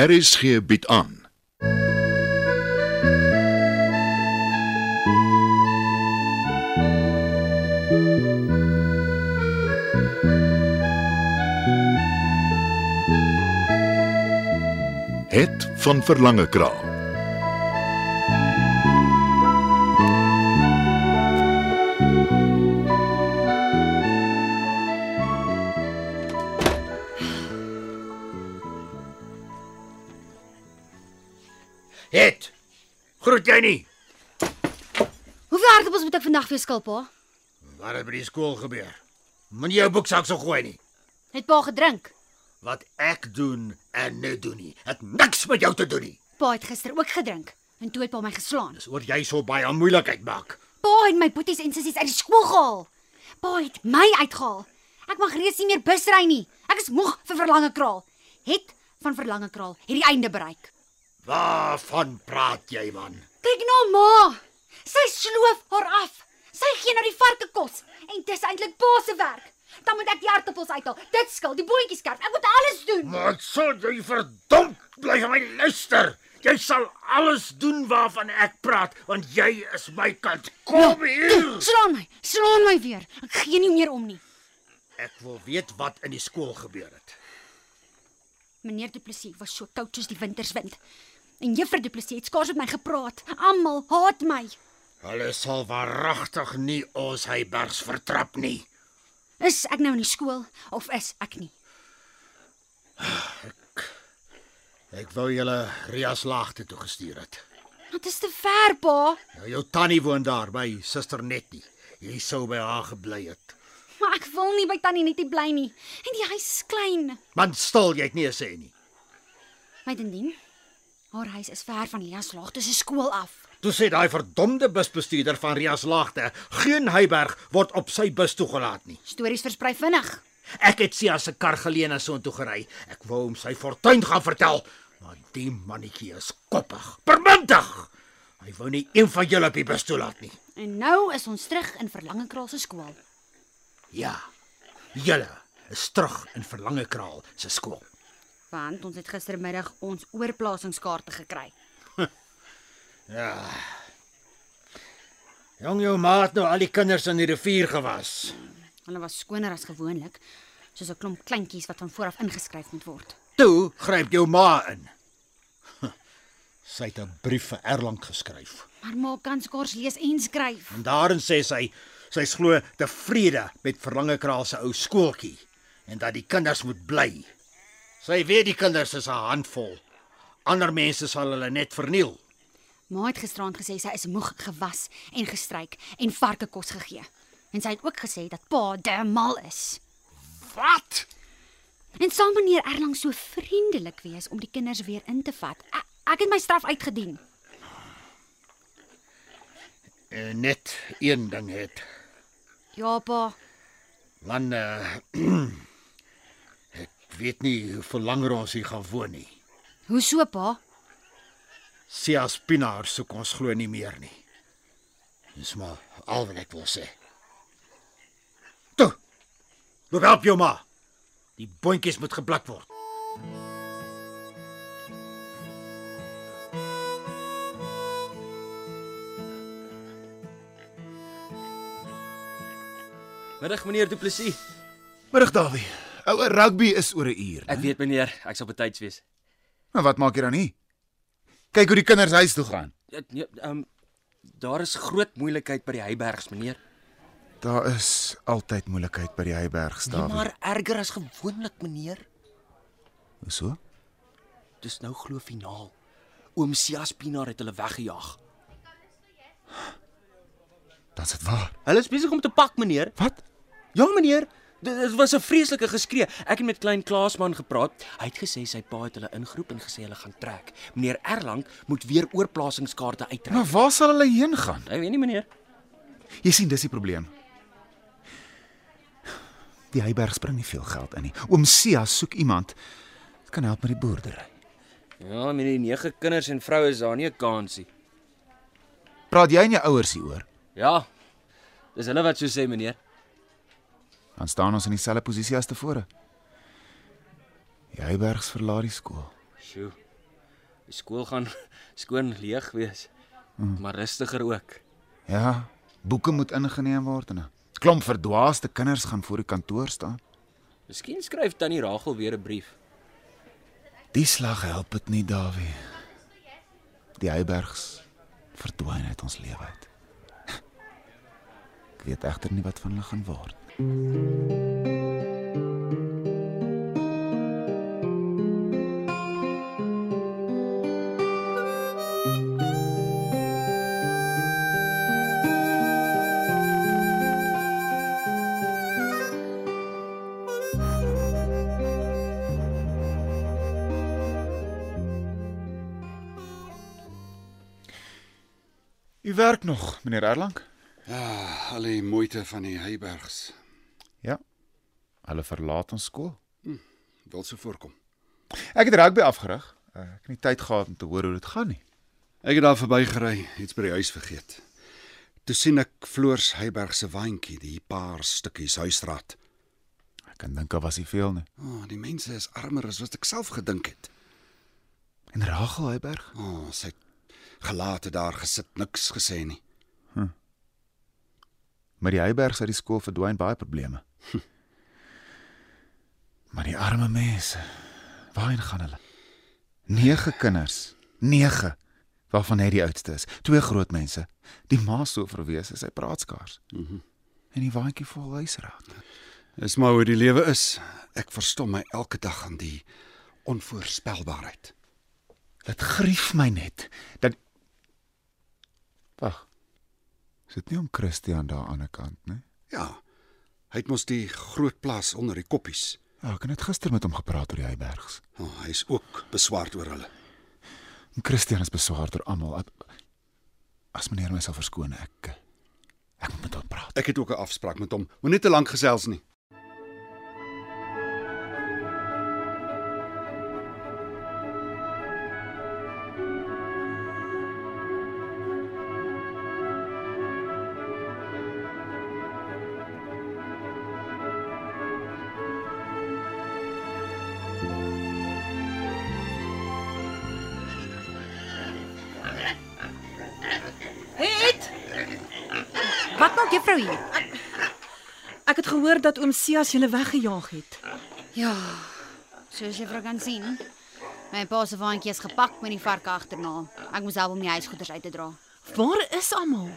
RSG bied aan. Het van Verlange Kraal Het. Groet jy nie? Hoeveel aardappels moet ek vandag vir skil pa? Wat het by die skool gebeur? Moenie jou boeksak so gooi nie. Het pa gedrink? Wat ek doen en net doen nie. Het niks met jou te doen nie. Pa het gister ook gedrink en toe het pa my geslaan. Dis oor jy so baie moeilikheid maak. Pa het my boeties en sissies uit die skool gehaal. Pa het my uitgehaal. Ek mag reeds nie meer bus ry nie. Ek is moeg vir verlange kraal. Het van verlange kraal hierdie einde bereik. Waarvan praat jy man? Kyk na nou, ma. Sy sloof haar af. Sy gee nou die varke kos en dis eintlik pa se werk. Dan moet ek die aardappels uithaal. Dit skil, die boontjies skerp. Ek moet alles doen. Maar sal jy verdomp bly van my luister. Jy sal alles doen waarvan ek praat want jy is my kind. Kom hier. Slaan my, slaan my weer. Ek gee nie meer om nie. Ek wil weet wat in die skool gebeur het. Meneer Du Plessis was so koud soos die winterswind. En juffrou Du Plessis het skaars met my gepraat. Almal haat my. Hulle sal waaragtig nie ons Heybergs vertrap nie. Is ek nou in die skool of is ek nie? Ek wou julle Ria se laagte toe gestuur het. Wat is te ver, pa? Nou jou tannie woon daar by suster Nettie. Jy sou by haar gebly het. Maar ek wil nie by tannie Nettie bly nie. En die huis is klein. Man stil, jy het nie gesê nie. Mytendien, haar huis is ver van Lia se laagte se skool af. Toe sê daai verdomde busbestuurder van Ria se laagte, geen Heyberg word op sy bus toegelaat nie. Stories versprei vinnig. Ek het Sia se kar geleen en soontoe gery. Ek wou hom sy fortuin gaan vertel, maar die mannetjie is koppig, permintig. Hy wou nie een van julle op die bus toelaat nie. En nou is ons terug in Verlangekraal se skool. Ja. Julle is terug in Verlange Kraal se skool. Want ons het gistermiddag ons oorplasingskaarte gekry. Jong jou maat nou al die kinders in die rivier gewas. Hulle was skoner as gewoonlik, soos 'n klomp kleintjies wat van vooraf ingeskryf moet word. Toe gryp jou ma in. Sy het 'n brief vir Erlang geskryf. Maar ma kan skaars lees en skryf. En daarin sê sy sy's glo tevrede met Verlange Kraal se ou skooltjie en dat die kinders moet bly. Sy weet die kinders is 'n handvol. Ander mense sal hulle net verniel. Ma het gisteraand gesê sy is moeg gewas en gestryk en varke kos gegee. En sy het ook gesê dat pa dermal is. Wat? En sal meneer Erlang so vriendelik wees om die kinders weer in te vat. Ek, ek het my straf uitgedien. Uh, net een ding het. Ja pa, Man uh, ek weet nie hoe veel langer ons hier gaan woon nie. hoe so pa? Sia Spinaar soek ons glo nie meer nie. Dis maar al wat ek wil sê. Toe. Loop help jou ma. Die boontjies moet gepluk word. Middag meneer Du Plessis. Middag Dawie. Ouer rugby is oor 'n uur. Ek weet meneer, ek sal betyds wees. Maar wat maak jy dan nie? Kyk hoe die kinders huis toe gaan. Ja, nee, Ehm um, daar is groot moeilikheid by die Heybergs meneer. Daar is altyd moeilikheid by die Heybergs Nee, Dawie. maar erger as gewoonlik meneer. Hoeso? Dis nou glo finaal. Oom Sia Spinaar het hulle weggejaag. Dan is dit waar. Hulle is besig om te pak meneer. Wat? Ja meneer, dit dit was 'n vreeslike geskree. Ek het met klein Klaasman gepraat. Hy het gesê sy pa het hulle ingeroep en gesê hulle gaan trek. Meneer Erlang moet weer oorplasingskaarte uittrek. Maar waar sal hulle heen gaan? Ek weet nie meneer. Jy sien dis die probleem. Die Heybergs bring nie veel geld in nie. Oom Sia soek iemand wat kan help met die boerdery. Ja, meneer, nege kinders en vroue is daar nie 'n kansie. Praat jy en jou ouers hieroor? Ja. Dis hulle wat so sê meneer. Dan staan ons in dieselfde posisie as tevore. Die Heybergs verlaat die skool. Sjoe. Die skool gaan skoon leeg wees, maar rustiger ook. Ja, boeke moet ingeneem word en 'n klomp verdwaasde kinders gaan voor die kantoor staan. Miskien skryf tannie Ragel weer 'n brief. Die slag help dit nie, Dawie. Die Eibergs verdwyn uit ons lewe uit. Ek weet egter nie wat van hulle gaan word. U werk nog, meneer Erlang? Ja, al die moeite van die Heibergs Ja. Hulle verlaat ons skool. wil se voorkom. Ek het rugby afgerig. Uh, Ek het nie tyd gehad om te hoor hoe dit gaan nie. Ek het daar verbygery, iets by die huis vergeet. Toe sien ek Floors Heiberg se waantjie, die paar stukkies huisraad. Ek kan dink daar was nie veel nie. O, oh, die mense is armer as wat ek self gedink het. En Rachel Heyberg? O, oh, sy het gelaat daar gesit, niks gesê nie. Met die Heybergs uit die skool verdwyn baie probleme. maar die arme mense, waarheen gaan hulle? 9 kinders, 9 waarvan hy die oudste is. Twee groot mense. Die ma so verwees is hy praat skaars. Mhm. Mm en die waantjie vol huisraad. Dis maar hoe die lewe is. Ek verstom my elke dag aan die onvoorspelbaarheid. Dit grief my net dat Wag. Is dit nie om Christian daar aan die ander kant nee? nie? Ja. Hy het mos die groot plaas onder die koppies. Ja, ek het net gister met hom gepraat oor die Heybergs. O, oh, hy is ook beswaard oor hulle. En Christian is beswaar deur almal. Ek- As meneer myself verskoon, ek ek moet met hom praat. Ek het ook 'n afspraak met hom. Moenie te lank gesels nie. Het Wat maak juffrou hier? ek het gehoor dat oom Sias julle weggejaag het. Ja, soos jy vrou kan sien. My pa se waantjie is gepak met die varke agterna. Ek moes help om die huisgoeders uit te dra. Waar is almal?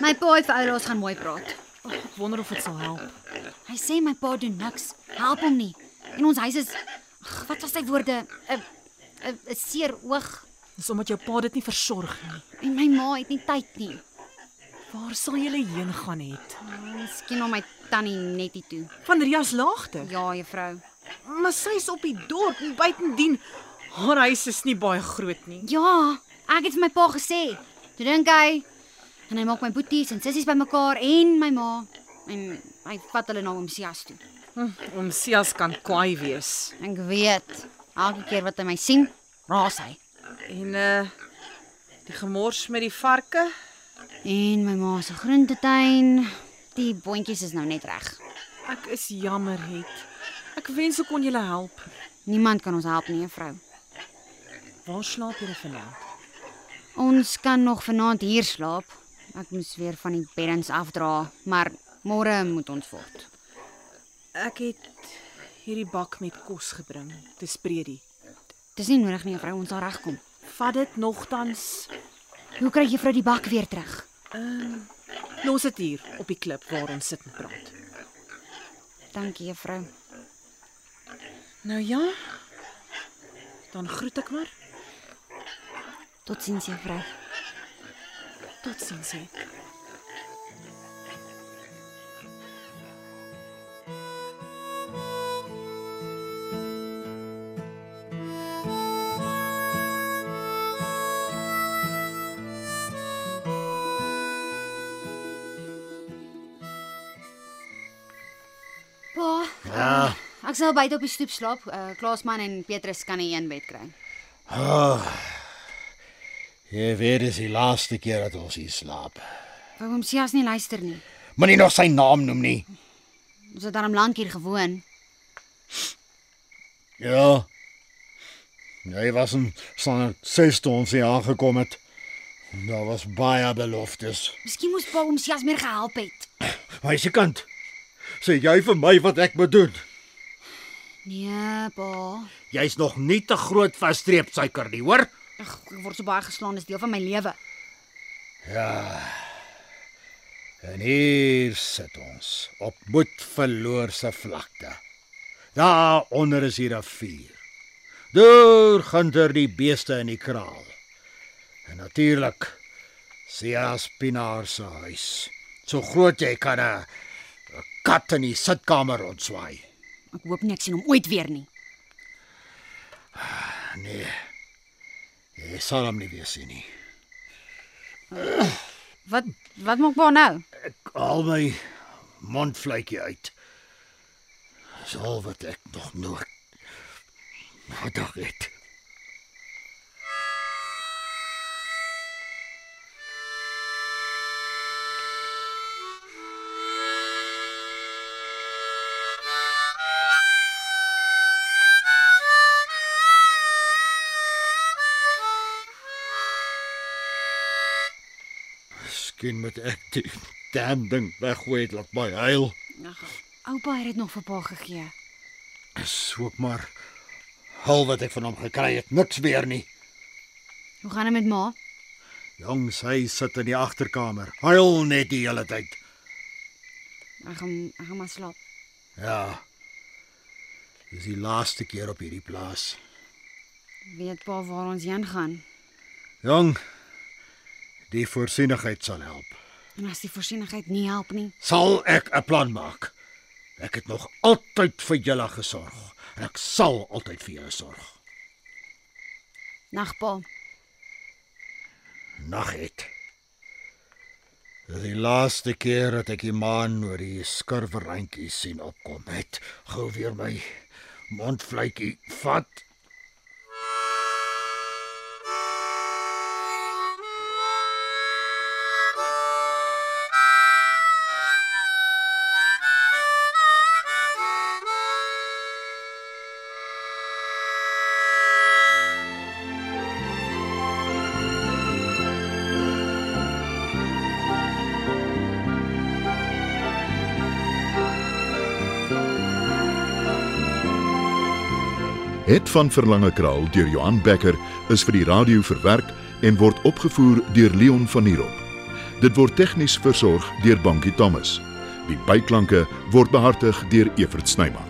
My pa het vir ouers gaan mooi praat. Oh, ek wonder of dit sal help. Hy sê my pa doen niks. Help hom nie. En ons huis is ag, wat was sy woorde? 'n 'n 'n seer oog Dis omdat jou pa dit nie versorg nie. en my ma het nie tyd nie. Waar sal julle heen gaan het? Miskien om Ah, my tannie nettie toe. Van Rias laagte. Ja, juffrou. Maar sy's op die dorp en buitendien haar huis is nie baie groot nie. Ja, ek het vir my pa gesê. Toe dink hy en hy maak my boeties en sissies bymekaar en my ma en hy vat hulle nou na oom Sias toe. Hm, Oom Sias kan kwaai wees. Ek weet, elke keer wat hy my sien, raas hy. En uh die gemors met die varke? En my ma se groentetuin, die boontjies is nou net reg. Ek is jammer het. Ek wens ek kon julle help. Niemand kan ons help nie, juffrou. Waar slaap julle vanaand? Ons kan nog vanaand hier slaap. Ek moes weer van die beddens afdra, maar môre moet ons voort. Ek het hierdie bak met kos gebring. Dis breedie. Dis nie nodig nie, vrou, ons sal regkom. Vat dit nogtans. Hoe kry juffrou die bak weer terug? Los dit hier op die klip waar ons sit en praat. Dankie, juffrou. Nou ja. Dan groet ek maar. Totsiens, juffrou. Totsiens. hè. Pa, eh, Ja. ek sal buite op die stoep slaap. Uh, Klaasman en Petrus kan nie een bed kry. Jy weet dis die laaste keer dat ons hier slaap. Wou hom Sias nie luister nie. Moenie nog sy naam noem nie. Ons het daarom lank hier gewoon. Ja. Hy was in sonder 6 tons hier aangekom het. Daar was baie beloftes. Miskien moes pa hom Sias meer gehelp het. Maar sy kant. Sê jy vir my wat ek moet doen? Nee, pa. Jy's nog nie te groot vir streepsuiker nie, hoor? Ag, ek word so baie geslaan, is deel van my lewe. En hier sit ons op moedverlore vlakte. Daar onder is hier 'n vuur. Deur ginder die beeste in die kraal. En natuurlik Sia Spinaar se huis. So groot jy kan 'n 'n kat in die sitkamer ontswaai. Ek hoop nie ek sien hom ooit weer nie. Nee. Jy sal hom nie weer sien nie. Wat wat maak pa nou? Ek haal my mondvletjie uit. Dis al wat ek nog nooit gedag het. Miskien moet ek die damn ding weggooi laat my huil. Ag, oupa het dit nog vir pa gegee. Dis ook maar al wat ek van hom gekry het, niks weer nie. Hoe gaan dit met ma? Jong, sy sit in die agterkamer. Huil net die hele tyd. Ek gaan ek gaan maar slaap. Ja. Dis die laaste keer op hierdie plaas. Weet pa waar ons heen gaan? Jong, die voorsienigheid sal help. En as die voorsienigheid nie help nie, Sal ek 'n plan maak. Ek het nog altyd vir julle gesorg en ek sal altyd vir julle sorg. nag pa. Nag het. Dis die laaste keer dat ek die maan oor die skurwerrandjies sien opkom. Het gou weer my mondvletjie vat. Het van Verlange Kraal deur Johan Becker is vir die radio verwerk en word opgevoer deur Leon Van Heerop. Dit word tegnies versorg deur Bankie Thomas. Die byklanke word behartig deur Evert Snyman.